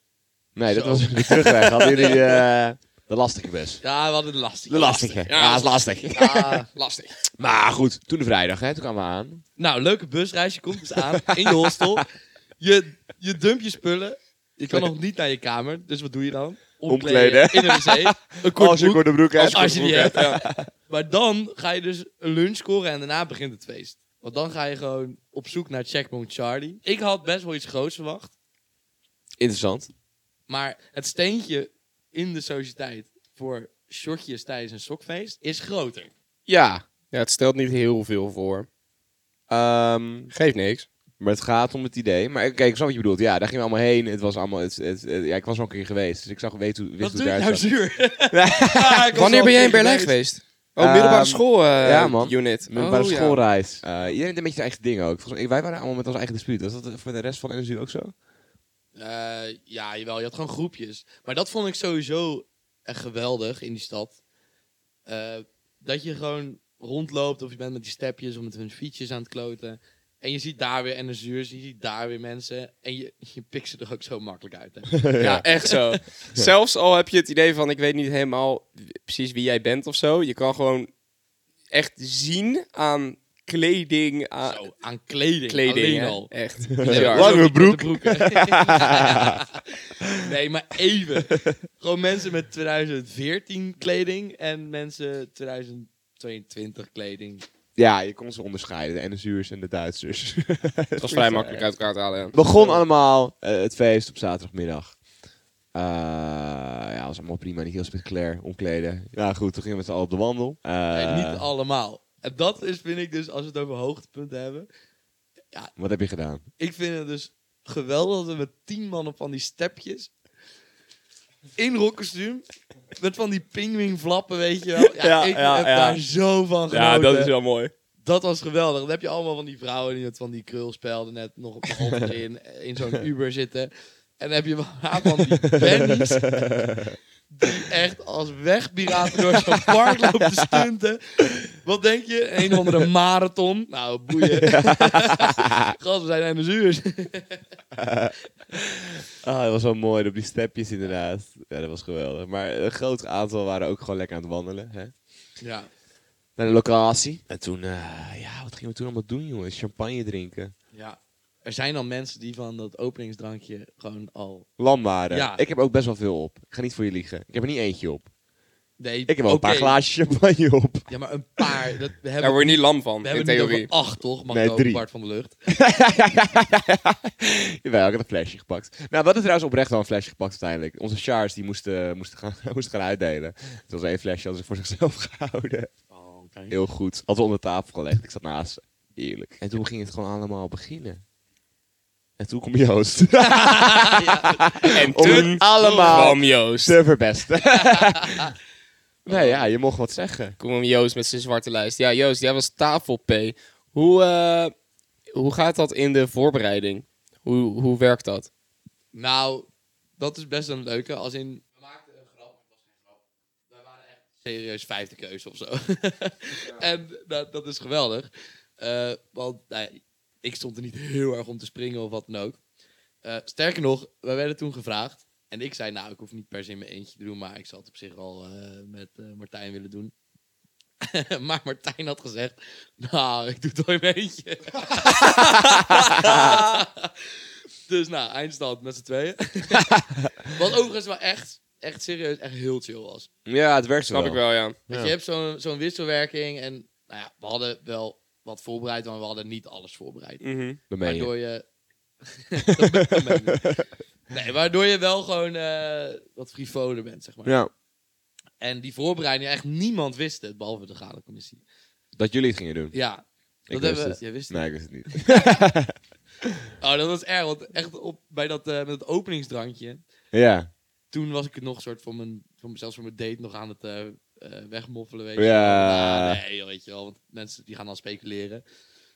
Speaker 2: Nee, dat
Speaker 4: Zo.
Speaker 2: was de terugweg. Hadden jullie eh, de lastige bus?
Speaker 4: Ja, we hadden de lastige.
Speaker 2: De lastige. Ja, dat is lastig.
Speaker 4: Ah,
Speaker 1: Lastig.
Speaker 2: Maar goed, toen de vrijdag, hè, toen kwamen we aan.
Speaker 4: nou, leuke busreis. Je komt dus aan in je hostel. Je, je dumpt je spullen. Je kan nog niet naar je kamer. Dus wat doe je dan?
Speaker 2: Omkleden.
Speaker 4: In de wc. Een kort broek.
Speaker 2: de broek
Speaker 4: Als, als je die hebt. Maar dan ga je dus een lunch scoren en daarna begint het feest. Want dan ga je gewoon op zoek naar Checkpoint Charlie. Ik had best wel iets groots verwacht.
Speaker 2: Interessant.
Speaker 4: Maar het steentje in de sociëteit voor shortjes tijdens een sokfeest is groter.
Speaker 2: Ja.
Speaker 1: Ja, het stelt niet heel veel voor.
Speaker 2: Ehm,
Speaker 1: Geeft niks.
Speaker 2: maar het gaat om het idee. Maar kijk, ik snap wat je bedoelt. Ja, daar gingen we allemaal heen. Het was allemaal, het, het- het- ja, ik was al een keer geweest, dus ik zag, weet hoe, wist
Speaker 4: Wat
Speaker 2: hoe
Speaker 4: doe
Speaker 2: het
Speaker 4: je
Speaker 2: eruit
Speaker 4: nou
Speaker 2: zag.
Speaker 4: zuur? Ah, ik was
Speaker 1: Wanneer
Speaker 4: al
Speaker 1: ben jij in
Speaker 4: tegen
Speaker 1: Berlijn
Speaker 4: mij.
Speaker 1: geweest?
Speaker 2: Oh,
Speaker 1: Oh,
Speaker 2: Ehm,
Speaker 1: middelbare
Speaker 2: middelbare
Speaker 1: school
Speaker 2: ja, man.
Speaker 1: unit.
Speaker 2: Met bij de schoolreis. Eh, iedereen deed een beetje zijn eigen ding ook. Volgens mij, wij waren allemaal met ons eigen dispuut. Was dat voor de rest van de NSU ook zo?
Speaker 4: Eh, ja, jawel. Je had gewoon groepjes. Maar dat vond ik sowieso echt geweldig in die stad. Eh, dat je gewoon rondloopt of je bent met die stepjes of met hun fietsjes aan het kloten. En je ziet daar weer NSU'ers, je ziet daar weer mensen. En je, je pikt ze er ook zo makkelijk uit. Hè?
Speaker 1: eh. Ja, echt zo. Zelfs al heb je het idee van, ik weet niet helemaal precies wie jij bent of zo. Je kan gewoon echt zien aan kleding, aan
Speaker 4: zo, aan kleding,
Speaker 1: kleding.
Speaker 4: alleen
Speaker 1: hè.
Speaker 4: al.
Speaker 1: Echt.
Speaker 4: Ja,
Speaker 1: Bizar.
Speaker 2: Lange
Speaker 4: zo die korte
Speaker 2: broek.
Speaker 4: broeken. nee, maar even. Gewoon mensen met 2014 kleding en mensen 2022 kleding.
Speaker 2: Ja, je kon ze onderscheiden. De NSU'ers en de Duitsers.
Speaker 1: Het was vrij makkelijk uit elkaar te halen.
Speaker 2: Het begon allemaal eh, het feest op zaterdagmiddag. Eh, ja, was allemaal prima, niet heel spectaculair, omkleden. Ja, goed, toen gingen we met z'n allen op de wandel. Eh,
Speaker 4: Nee, niet allemaal. En dat is, vind ik dus, als we het over hoogtepunten hebben.
Speaker 2: Wat heb je gedaan?
Speaker 4: Ik vind het dus geweldig dat we met tien mannen van die stepjes. In rokkostuum. Met van die pingwingflappen, weet je wel. Ja,
Speaker 1: Ja,
Speaker 4: ik
Speaker 1: ja,
Speaker 4: heb
Speaker 1: ja.
Speaker 4: daar zo van genoten.
Speaker 1: wel mooi.
Speaker 4: Dat was geweldig. Dan heb je allemaal van die vrouwen die met van die krulspelden net nog op de hoofd in, in zo'n Uber zitten. En dan heb je wel van die bennies die echt als wegpiraten door zo'n park lopen te stunten. Wat denk je? Een of andere marathon. Nou, boeien. Gast, we zijn aan de zuur.
Speaker 2: Ah, dat was wel mooi op die stepjes inderdaad. Ja, dat was geweldig. Maar een groot aantal waren ook gewoon lekker aan het wandelen. Hè?
Speaker 4: Ja.
Speaker 2: Naar de locatie. En toen, eh, ja, wat gingen we toen allemaal doen, jongens? Champagne drinken.
Speaker 4: ja. Er zijn dan mensen die van dat openingsdrankje gewoon al...
Speaker 2: Lam waren.
Speaker 4: Ja.
Speaker 2: Ik heb ook best wel veel op. Ik ga niet voor je liegen. Ik heb er niet eentje op.
Speaker 4: Nee,
Speaker 2: Ik heb wel
Speaker 4: oké.
Speaker 2: een paar glaasjes champagne op.
Speaker 4: Ja, maar een paar. Dat, we hebben,
Speaker 1: Daar word je niet lam van,
Speaker 4: we
Speaker 1: in
Speaker 4: hebben het niet
Speaker 1: theorie.
Speaker 4: over acht, toch? Mag
Speaker 2: Nee,
Speaker 4: ik ook
Speaker 2: drie.
Speaker 4: Bart van de Lucht.
Speaker 2: Jawel, ik had een flesje gepakt. Nou, we hadden trouwens oprecht wel een flesje gepakt uiteindelijk. Onze Charles die moesten, moesten, gaan, moesten gaan uitdelen. Het was één flesje, hadden ze voor zichzelf gehouden. Heel goed. Hadden we onder tafel gelegd. Ik zat naast ze. Eerlijk. En toen ging het gewoon allemaal beginnen. En toen kom Joost.
Speaker 1: En
Speaker 2: Om
Speaker 1: toen
Speaker 2: het allemaal
Speaker 1: kwam Joost.
Speaker 2: te verpesten. nee, ja, je mocht wat zeggen.
Speaker 1: Kom Joost met zijn zwarte lijst. Ja, Joost, jij was tafel P. Hoe, eh, hoe gaat dat in de voorbereiding? Hoe, hoe werkt dat?
Speaker 4: Nou, dat is best een leuke. Als in... We maakten een grap, maar het was geen grap. Wij waren echt serieus vijfde keuze of zo. en nou, dat is geweldig. Eh, want nou ja, ik stond er niet heel erg om te springen of wat dan ook. Eh, sterker nog, wij werden toen gevraagd. En ik zei, nou, ik hoef niet per se in mijn eentje te doen. Maar ik zou het op zich wel eh, met eh, Martijn willen doen. maar Martijn had gezegd, nou, ik doe het wel in mijn eentje. dus nou, eindstand met z'n tweeën. Wat overigens wel echt, echt serieus, echt heel chill was.
Speaker 2: Ja, het werkt zo
Speaker 1: Snap ik wel, ja.
Speaker 4: Want
Speaker 2: Ja.
Speaker 4: je hebt zo'n zo'n wisselwerking en nou ja, we hadden wel wat voorbereid, maar we hadden niet alles voorbereid.
Speaker 1: Mhm.
Speaker 4: waardoor je... Dat meen- dat meen je. nee, waardoor je wel gewoon eh, wat frivoler bent, zeg maar.
Speaker 2: Ja,
Speaker 4: En die voorbereiding, echt niemand wist het, behalve de gadencommissie.
Speaker 2: dat jullie het gingen doen.
Speaker 4: Ja,
Speaker 2: Ik
Speaker 4: dat
Speaker 2: wist
Speaker 4: hebben
Speaker 2: het.
Speaker 4: we... Jij wist het?
Speaker 2: Nee, ik wist het niet.
Speaker 4: Oh, dat was erg, want echt op, bij dat, eh, met dat openingsdrankje...
Speaker 2: Ja,
Speaker 4: toen was ik het nog soort van mijn, van, zelfs voor mijn date nog aan het eh, eh, wegmoffelen, weet je
Speaker 2: Ja.
Speaker 4: wel. Ah, nee, joh, weet je wel, want mensen die gaan dan speculeren.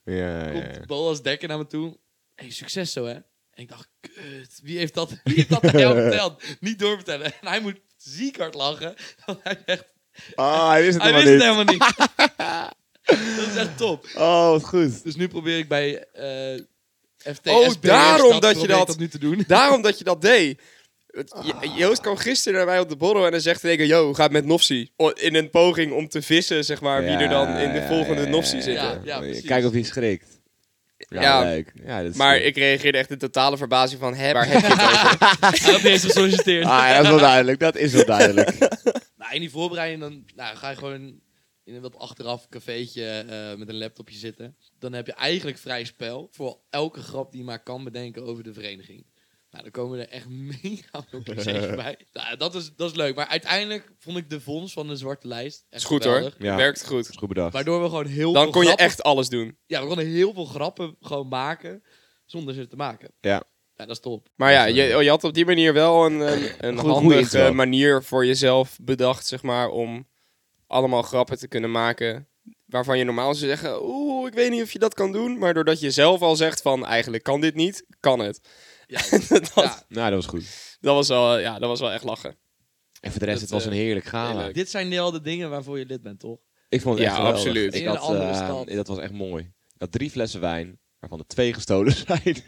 Speaker 2: ja, ja.
Speaker 4: Komt Boas Dekker naar me toe. Hey, succes zo, hè? En ik dacht, kut, wie heeft dat, wie heeft dat aan jou verteld? Niet doorvertellen. En hij moet ziek hard lachen. Want hij zegt,
Speaker 2: Ah, hij wist het
Speaker 4: hij wist
Speaker 2: helemaal
Speaker 4: het
Speaker 2: niet.
Speaker 4: helemaal niet. dat is echt top.
Speaker 2: Oh, wat goed.
Speaker 4: Dus nu probeer ik bij eh FT
Speaker 1: Oh,
Speaker 4: SPS
Speaker 1: daarom dat je
Speaker 4: probeer ik
Speaker 1: dat-
Speaker 4: nu te doen.
Speaker 1: Daarom dat je dat deed. Het- Je- Joost kwam gisteren naar mij op de borrel en dan zegt hij, yo, hoe gaat het met Nofsi? O- In een poging om te vissen, zeg maar, wie er dan in de
Speaker 2: Ja,
Speaker 1: volgende
Speaker 2: ja,
Speaker 1: Nofsi
Speaker 2: ja,
Speaker 1: zit.
Speaker 4: Ja, ja, precies.
Speaker 2: Kijk of hij schrikt. Ja,
Speaker 1: Ja.
Speaker 2: leuk. Ja, dat is
Speaker 1: Maar
Speaker 2: leuk.
Speaker 1: ik reageerde echt in totale verbazing van, hè, waar heb je het over?
Speaker 4: Hij had niet eens gesolliciteerd.
Speaker 2: Ah, ja, dat is wel duidelijk. Dat is wel duidelijk.
Speaker 4: Nou, in die voorbereiding dan nou, ga je gewoon in een wat achteraf cafeetje eh, met een laptopje zitten. Dan heb je eigenlijk vrij spel voor elke grap die je maar kan bedenken over de vereniging. Nou, dan komen er echt mega veel clichés bij. Nou, dat, is, dat is leuk. Maar uiteindelijk vond ik de vondst van de zwarte lijst echt
Speaker 1: Is goed hoor,
Speaker 4: geweldig.
Speaker 2: Ja.
Speaker 1: werkt goed.
Speaker 2: Goed bedacht.
Speaker 4: Waardoor we gewoon heel
Speaker 1: Dan
Speaker 4: veel
Speaker 1: kon je
Speaker 4: grappen-
Speaker 1: echt alles doen.
Speaker 4: Ja, we konden heel veel grappen gewoon maken zonder ze te maken.
Speaker 2: Ja.
Speaker 4: Ja, dat is top.
Speaker 1: Maar ja, je, oh, je had op die manier wel een, een, een
Speaker 2: goede
Speaker 1: handige
Speaker 2: intro.
Speaker 1: manier voor jezelf bedacht, zeg maar, om allemaal grappen te kunnen maken. Waarvan je normaal zou zeggen, oeh, ik weet niet of je dat kan doen. Maar doordat je zelf al zegt van, eigenlijk kan dit niet, kan het.
Speaker 4: Ja,
Speaker 1: dat,
Speaker 4: ja.
Speaker 2: Nou, dat was goed.
Speaker 1: dat, was wel, ja, dat was wel echt lachen.
Speaker 2: En voor de rest,
Speaker 4: Dat,
Speaker 2: het was
Speaker 4: eh,
Speaker 2: een heerlijk gala.
Speaker 1: heel leuk.
Speaker 4: Dit zijn wel de dingen waarvoor je lid bent, toch?
Speaker 2: Ik vond het echt
Speaker 1: Ja,
Speaker 2: geweldig.
Speaker 1: absoluut.
Speaker 2: Ik
Speaker 4: In een
Speaker 2: had,
Speaker 4: andere
Speaker 2: eh,
Speaker 4: stad.
Speaker 2: Dat was echt mooi. Ik had drie flessen wijn, waarvan er twee gestolen zijn.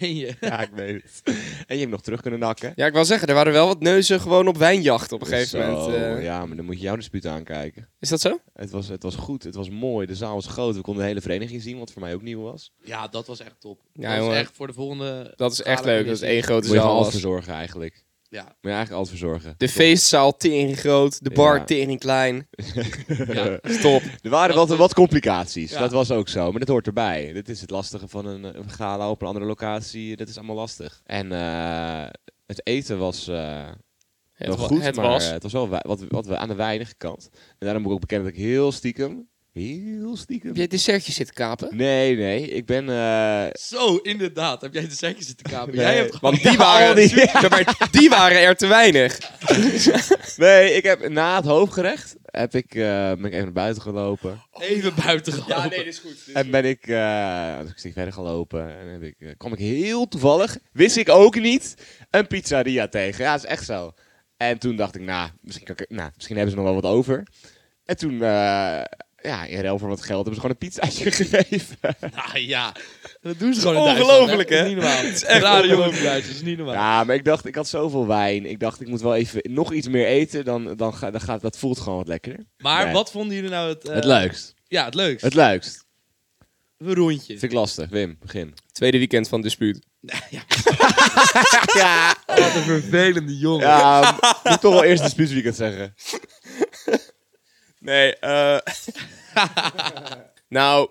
Speaker 4: Nee, je.
Speaker 2: ja, ik weet het. En je hebt nog terug kunnen nakken. Dus
Speaker 1: Ja, ik wil zeggen, er waren wel wat neuzen gewoon op wijnjacht op een gegeven
Speaker 2: Zo,
Speaker 1: moment. eh.
Speaker 2: Ja, maar dan moet je jouw dispuut aankijken.
Speaker 1: Is dat zo?
Speaker 2: Het was, het was goed, het was mooi, de zaal was groot. We konden de hele vereniging zien, wat voor mij ook nieuw was.
Speaker 4: Ja, dat was echt top.
Speaker 1: Ja,
Speaker 4: dat
Speaker 1: jongen.
Speaker 4: was echt voor de volgende...
Speaker 1: Dat is echt
Speaker 4: gala
Speaker 1: leuk, dat is
Speaker 4: commissie.
Speaker 1: één grote
Speaker 2: Moet je gewoon
Speaker 1: zaal.
Speaker 2: alles
Speaker 1: was.
Speaker 2: verzorgen eigenlijk.
Speaker 4: Ja,
Speaker 2: Moet je eigenlijk alles verzorgen.
Speaker 1: De feestzaal tering groot, de bar
Speaker 2: Ja.
Speaker 1: tering klein.
Speaker 4: ja.
Speaker 1: Stop.
Speaker 2: Er waren wat, wat complicaties,
Speaker 4: Ja.
Speaker 2: dat was ook zo, maar dat hoort erbij. Dit is het lastige van een, eh, een gala op een andere locatie, dat is allemaal lastig. En eh, het eten was eh,
Speaker 1: Het,
Speaker 2: wel
Speaker 1: wa-
Speaker 2: goed,
Speaker 1: het
Speaker 2: maar
Speaker 1: was.
Speaker 2: eh, het was wel wij- wat, wat we aan de weinige kant. En daarom moet ik ook bekennen dat ik heel stiekem, heel stiekem...
Speaker 1: Heb je het dessertje zitten kapen?
Speaker 2: Nee, nee, ik ben... eh,
Speaker 4: Zo, inderdaad. Heb jij de zetjes zitten kapen?
Speaker 2: Nee.
Speaker 4: Jij hebt gewoon...
Speaker 1: Want die
Speaker 2: al
Speaker 1: waren,
Speaker 2: die-
Speaker 1: Ja, maar die waren er te weinig.
Speaker 2: Nee, ik heb na het hoofdgerecht heb ik, eh, ben ik even naar buiten gelopen.
Speaker 4: Even buiten gelopen.
Speaker 1: is goed.
Speaker 2: En ben ik, eh een stuk verder gelopen. En heb ik, eh, kwam ik heel toevallig, wist ik ook niet, een pizzeria tegen. Ja, dat is echt zo. En toen dacht ik, nou, misschien, kan ik, nou, misschien hebben ze nog wel wat over. En toen eh, ja, in ruil voor wat geld hebben ze gewoon een pizzaatje gegeven.
Speaker 4: Nou ja, dat doen ze gewoon in Duitsland,
Speaker 1: Ongelooflijk, hè?
Speaker 4: Dat is niet normaal. Het
Speaker 1: is echt
Speaker 4: jongens
Speaker 1: ongelooflijk.
Speaker 4: Duitsers, dat is niet normaal.
Speaker 2: Ja, maar ik dacht, ik had zoveel wijn. Ik dacht, ik moet wel even nog iets meer eten. Dan, dan, ga, dan gaat, dat voelt gewoon wat lekkerder.
Speaker 4: Maar
Speaker 2: Nee.
Speaker 4: wat vonden jullie nou het... eh,
Speaker 2: het leukst.
Speaker 4: Ja, het leukst.
Speaker 2: Het leukst.
Speaker 4: Een rondje.
Speaker 2: Vind ik lastig. Wim, begin.
Speaker 1: Tweede weekend van dispuut.
Speaker 4: Ja,
Speaker 2: ja,
Speaker 4: wat een vervelende jongen.
Speaker 2: ja moet toch wel eerst de spitsweekend zeggen.
Speaker 1: Nee, eh nou,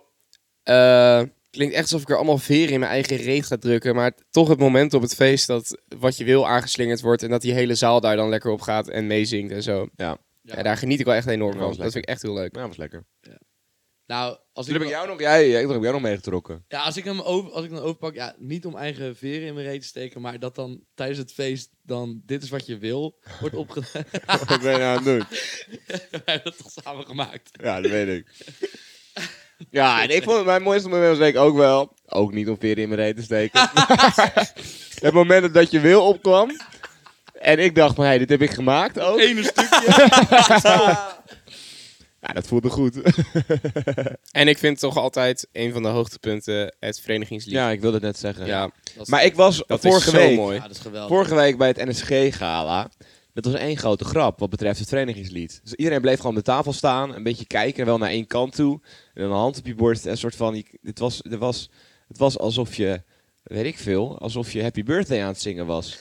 Speaker 1: eh, klinkt echt alsof ik er allemaal veren in mijn eigen reet ga drukken. Maar toch het moment op het feest dat wat je wil aangeslingerd wordt. En dat die hele zaal daar dan lekker op gaat en meezingt en zo.
Speaker 2: Ja.
Speaker 1: Ja. daar geniet ik wel echt enorm
Speaker 2: Ja,
Speaker 1: van.
Speaker 2: was
Speaker 1: Dat vind ik
Speaker 2: lekker.
Speaker 1: echt heel leuk.
Speaker 2: Ja, was lekker.
Speaker 4: Nou, als
Speaker 2: Dus Toen
Speaker 4: ik,
Speaker 2: heb ik jou nog, jij, ik heb jou nog meegetrokken.
Speaker 4: ja, als ik hem over, als ik hem overpak, ja, niet om eigen veren in mijn reet te steken, maar dat dan tijdens het feest dan dit is wat je wil wordt opgedaan.
Speaker 2: Wat ben je nou aan het doen?
Speaker 4: We hebben dat toch samen gemaakt.
Speaker 2: Ja, dat weet ik. Ja, en ik vond mijn mooiste moment was denk ik ook wel. Ook niet om veren in mijn reet te steken. Maar het moment dat je wil opkwam. En ik dacht van, hé, dit heb ik gemaakt ook.
Speaker 4: Eén stukje.
Speaker 2: Ja, dat voelde goed.
Speaker 1: En ik vind toch altijd een van de hoogtepunten het verenigingslied.
Speaker 2: Ja, ik wilde het net zeggen.
Speaker 1: Ja,
Speaker 4: Dat is-
Speaker 2: Maar ik was
Speaker 1: dat
Speaker 2: vorige
Speaker 1: is zo
Speaker 2: week,
Speaker 1: mooi.
Speaker 4: Ja, dat is geweldig.
Speaker 2: vorige week bij het NSG-gala. Dat was één grote grap wat betreft het verenigingslied. Dus iedereen bleef gewoon op de tafel staan, een beetje kijken, wel naar één kant toe. En dan een hand op je borst en een soort van... je- Het was, het, was, het was alsof je, weet ik veel, alsof je Happy Birthday aan het zingen was.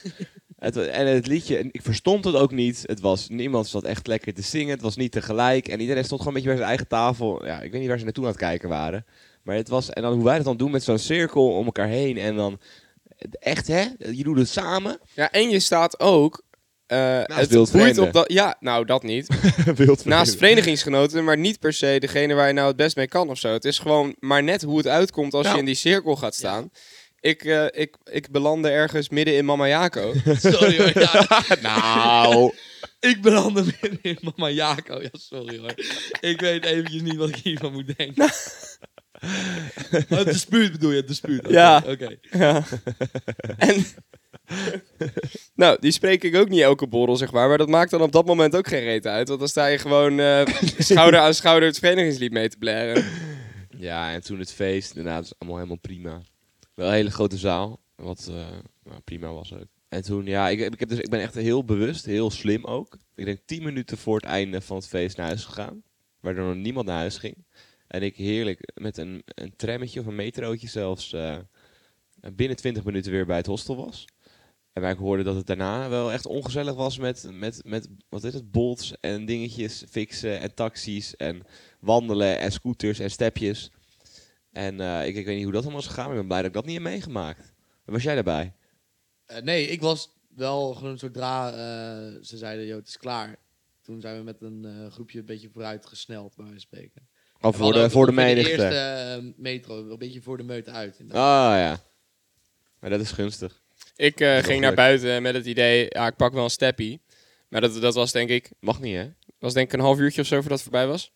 Speaker 2: Het, wa- en het liedje, en ik verstond het ook niet. Het was, niemand zat echt lekker te zingen, het was niet tegelijk. En iedereen stond gewoon een beetje bij zijn eigen tafel. Ja, ik weet niet waar ze naartoe aan het kijken waren. Maar het was, en dan hoe wij dat dan doen met zo'n cirkel om elkaar heen en dan... Echt hè? Je doet het samen.
Speaker 1: ja en je staat ook... eh, het
Speaker 2: wild
Speaker 1: boeit
Speaker 2: vreemden.
Speaker 1: op dat... Ja, nou dat niet.
Speaker 2: Wild
Speaker 1: Naast verenigingsgenoten, maar niet per se degene waar je nou het best mee kan of zo. Het is gewoon maar net hoe het uitkomt als
Speaker 2: Nou.
Speaker 1: je in die cirkel gaat staan. Ik, eh, ik, ik belandde ergens midden in Mama Jaco.
Speaker 4: Sorry hoor, ja.
Speaker 2: Nou,
Speaker 4: Ik ben handen midden in mama Jaco. Ja, sorry hoor. Ik weet eventjes niet wat ik hiervan moet denken.
Speaker 2: Nou.
Speaker 4: Oh, het dispuut bedoel je, het dispuut. Oké,
Speaker 1: Ja.
Speaker 4: Oké.
Speaker 1: en, nou, die spreek ik ook niet elke borrel, zeg maar. Maar dat maakt dan op dat moment ook geen reet uit. Want dan sta je gewoon eh, schouder aan schouder het verenigingslied mee te blaren.
Speaker 2: Ja, en toen het feest. Daarna het was allemaal helemaal prima. Wel een hele grote zaal. Wat eh, nou, prima was ook. En toen, ja, ik, ik, heb dus, ik ben echt heel bewust, heel slim ook. Ik denk tien minuten voor het einde van het feest naar huis gegaan. Waardoor nog niemand naar huis ging. En ik heerlijk met een, een trammetje of een metrootje zelfs eh, binnen 20 minuten weer bij het hostel was. En waar ik hoorde dat het daarna wel echt ongezellig was met, met, met wat is het, bolts en dingetjes fixen en taxis en wandelen en scooters en stepjes. En eh, ik, ik weet niet hoe dat allemaal is gegaan, maar ik ben blij dat ik dat niet heb meegemaakt. Was jij daarbij?
Speaker 4: Eh, nee, ik was wel gewoon zodra eh, ze zeiden, joh, het is klaar. Toen zijn we met een eh, groepje een beetje vooruit gesneld, bij wijze van spreken.
Speaker 2: Of
Speaker 4: We
Speaker 2: Oh, voor
Speaker 4: hadden
Speaker 2: de,
Speaker 4: ook
Speaker 2: voor de
Speaker 4: ongeveer
Speaker 2: menigte?
Speaker 4: eerste eh, metro, een beetje voor de meute uit.
Speaker 2: Ah ja. Maar dat is gunstig.
Speaker 1: Ik eh,
Speaker 2: is wel
Speaker 1: ging naar
Speaker 2: leuk.
Speaker 1: buiten met het idee, ja, ik pak wel een steppie. Maar dat, dat was denk ik
Speaker 2: Mag niet hè?
Speaker 1: was denk ik een half uurtje of zo voordat het voorbij was.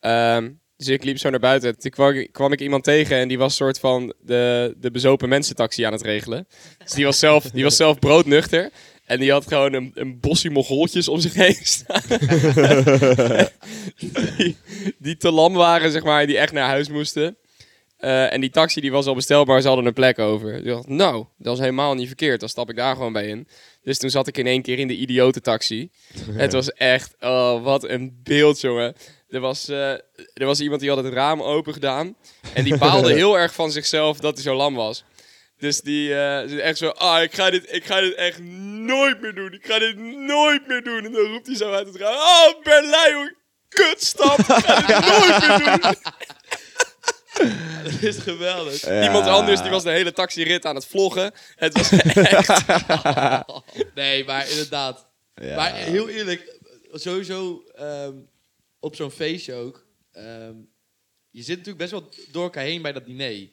Speaker 1: Ehm, dus ik liep zo naar buiten. Toen kwam, kwam ik iemand tegen en die was soort van de, de bezopen mensentaxi aan het regelen. Dus die was zelf, die was zelf broodnuchter. En die had gewoon een, een bossie mogoltjes om zich heen staan. die, die te lam waren, zeg maar, en die echt naar huis moesten. Eh, en die taxi die was al bestelbaar, ze hadden een plek over. Dus ik dacht, nou, dat is helemaal niet verkeerd. Dan stap ik daar gewoon bij in. Dus toen zat ik in één keer in de idiotentaxi. Het was echt, oh, wat een beeld, jongen. Er was, eh, er was iemand die had het raam open gedaan. En die baalde heel erg van zichzelf dat hij zo lam was. Dus die eh, zit echt zo, ah, ik ga, dit, ik ga dit echt nooit meer doen. Ik ga dit nooit meer doen. En dan roept hij zo uit het raam, oh, Berlijn, hoor. Kutstad, ik ga dit nooit meer doen.
Speaker 4: Dat is geweldig.
Speaker 1: Iemand anders die was de hele taxirit aan het vloggen. Het was echt...
Speaker 4: Nee, maar inderdaad.
Speaker 2: Ja.
Speaker 4: Maar heel eerlijk, sowieso ehm, op zo'n feestje ook. ehm, je zit natuurlijk best wel door elkaar heen bij dat diner.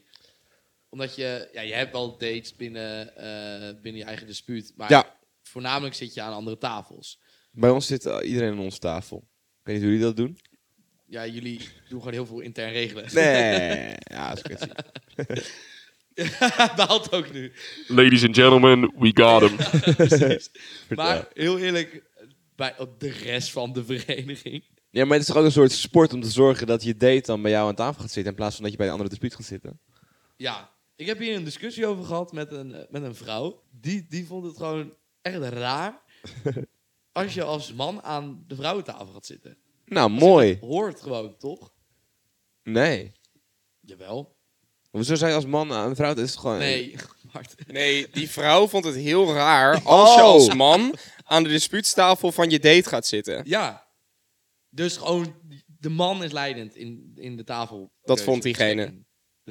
Speaker 4: Omdat je, ja, je hebt wel dates binnen, eh, binnen je eigen dispuut. Maar
Speaker 2: Ja.
Speaker 4: voornamelijk zit je aan andere tafels.
Speaker 2: Bij ons zit eh, iedereen aan onze tafel. Ik weet niet hoe jullie dat doen.
Speaker 4: Ja, jullie doen gewoon heel veel intern regelen.
Speaker 2: Nee. ja, dat is kut.
Speaker 4: Baalt ook nu.
Speaker 5: Ladies and gentlemen, we got him.
Speaker 4: Maar heel eerlijk, bij, op de rest van de vereniging
Speaker 2: Ja, maar het is toch ook een soort sport om te zorgen dat je date dan bij jou aan tafel gaat zitten in plaats van dat je bij een andere dispuut gaat zitten.
Speaker 4: Ja, ik heb hier een discussie over gehad met een, eh, met een vrouw. Die, die vond het gewoon echt raar als je als man aan de vrouwentafel gaat zitten.
Speaker 2: Nou, mooi.
Speaker 4: Hoort gewoon, toch?
Speaker 2: Nee.
Speaker 4: Jawel.
Speaker 2: Hoezo zou je als man aan een vrouw... Het is toch gewoon...
Speaker 4: Nee, Mart.
Speaker 1: Nee, die vrouw vond het heel raar als je
Speaker 2: Oh.
Speaker 1: als man aan de dispuutstafel van je date gaat zitten.
Speaker 4: Ja. Dus gewoon, de man is leidend in, in de tafel.
Speaker 1: Dat vond diegene.
Speaker 4: De
Speaker 2: Nou,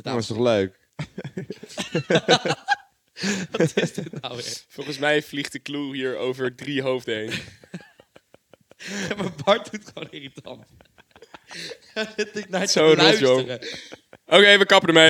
Speaker 4: tafel.
Speaker 2: is toch leuk?
Speaker 4: Wat is dit nou weer?
Speaker 1: Volgens mij vliegt de clue hier over drie hoofden heen.
Speaker 4: Ja, maar Bart doet gewoon irritant. Dan zit ik naar te
Speaker 1: Zo, dat is
Speaker 4: luisteren.
Speaker 1: Oké, we kappen ermee.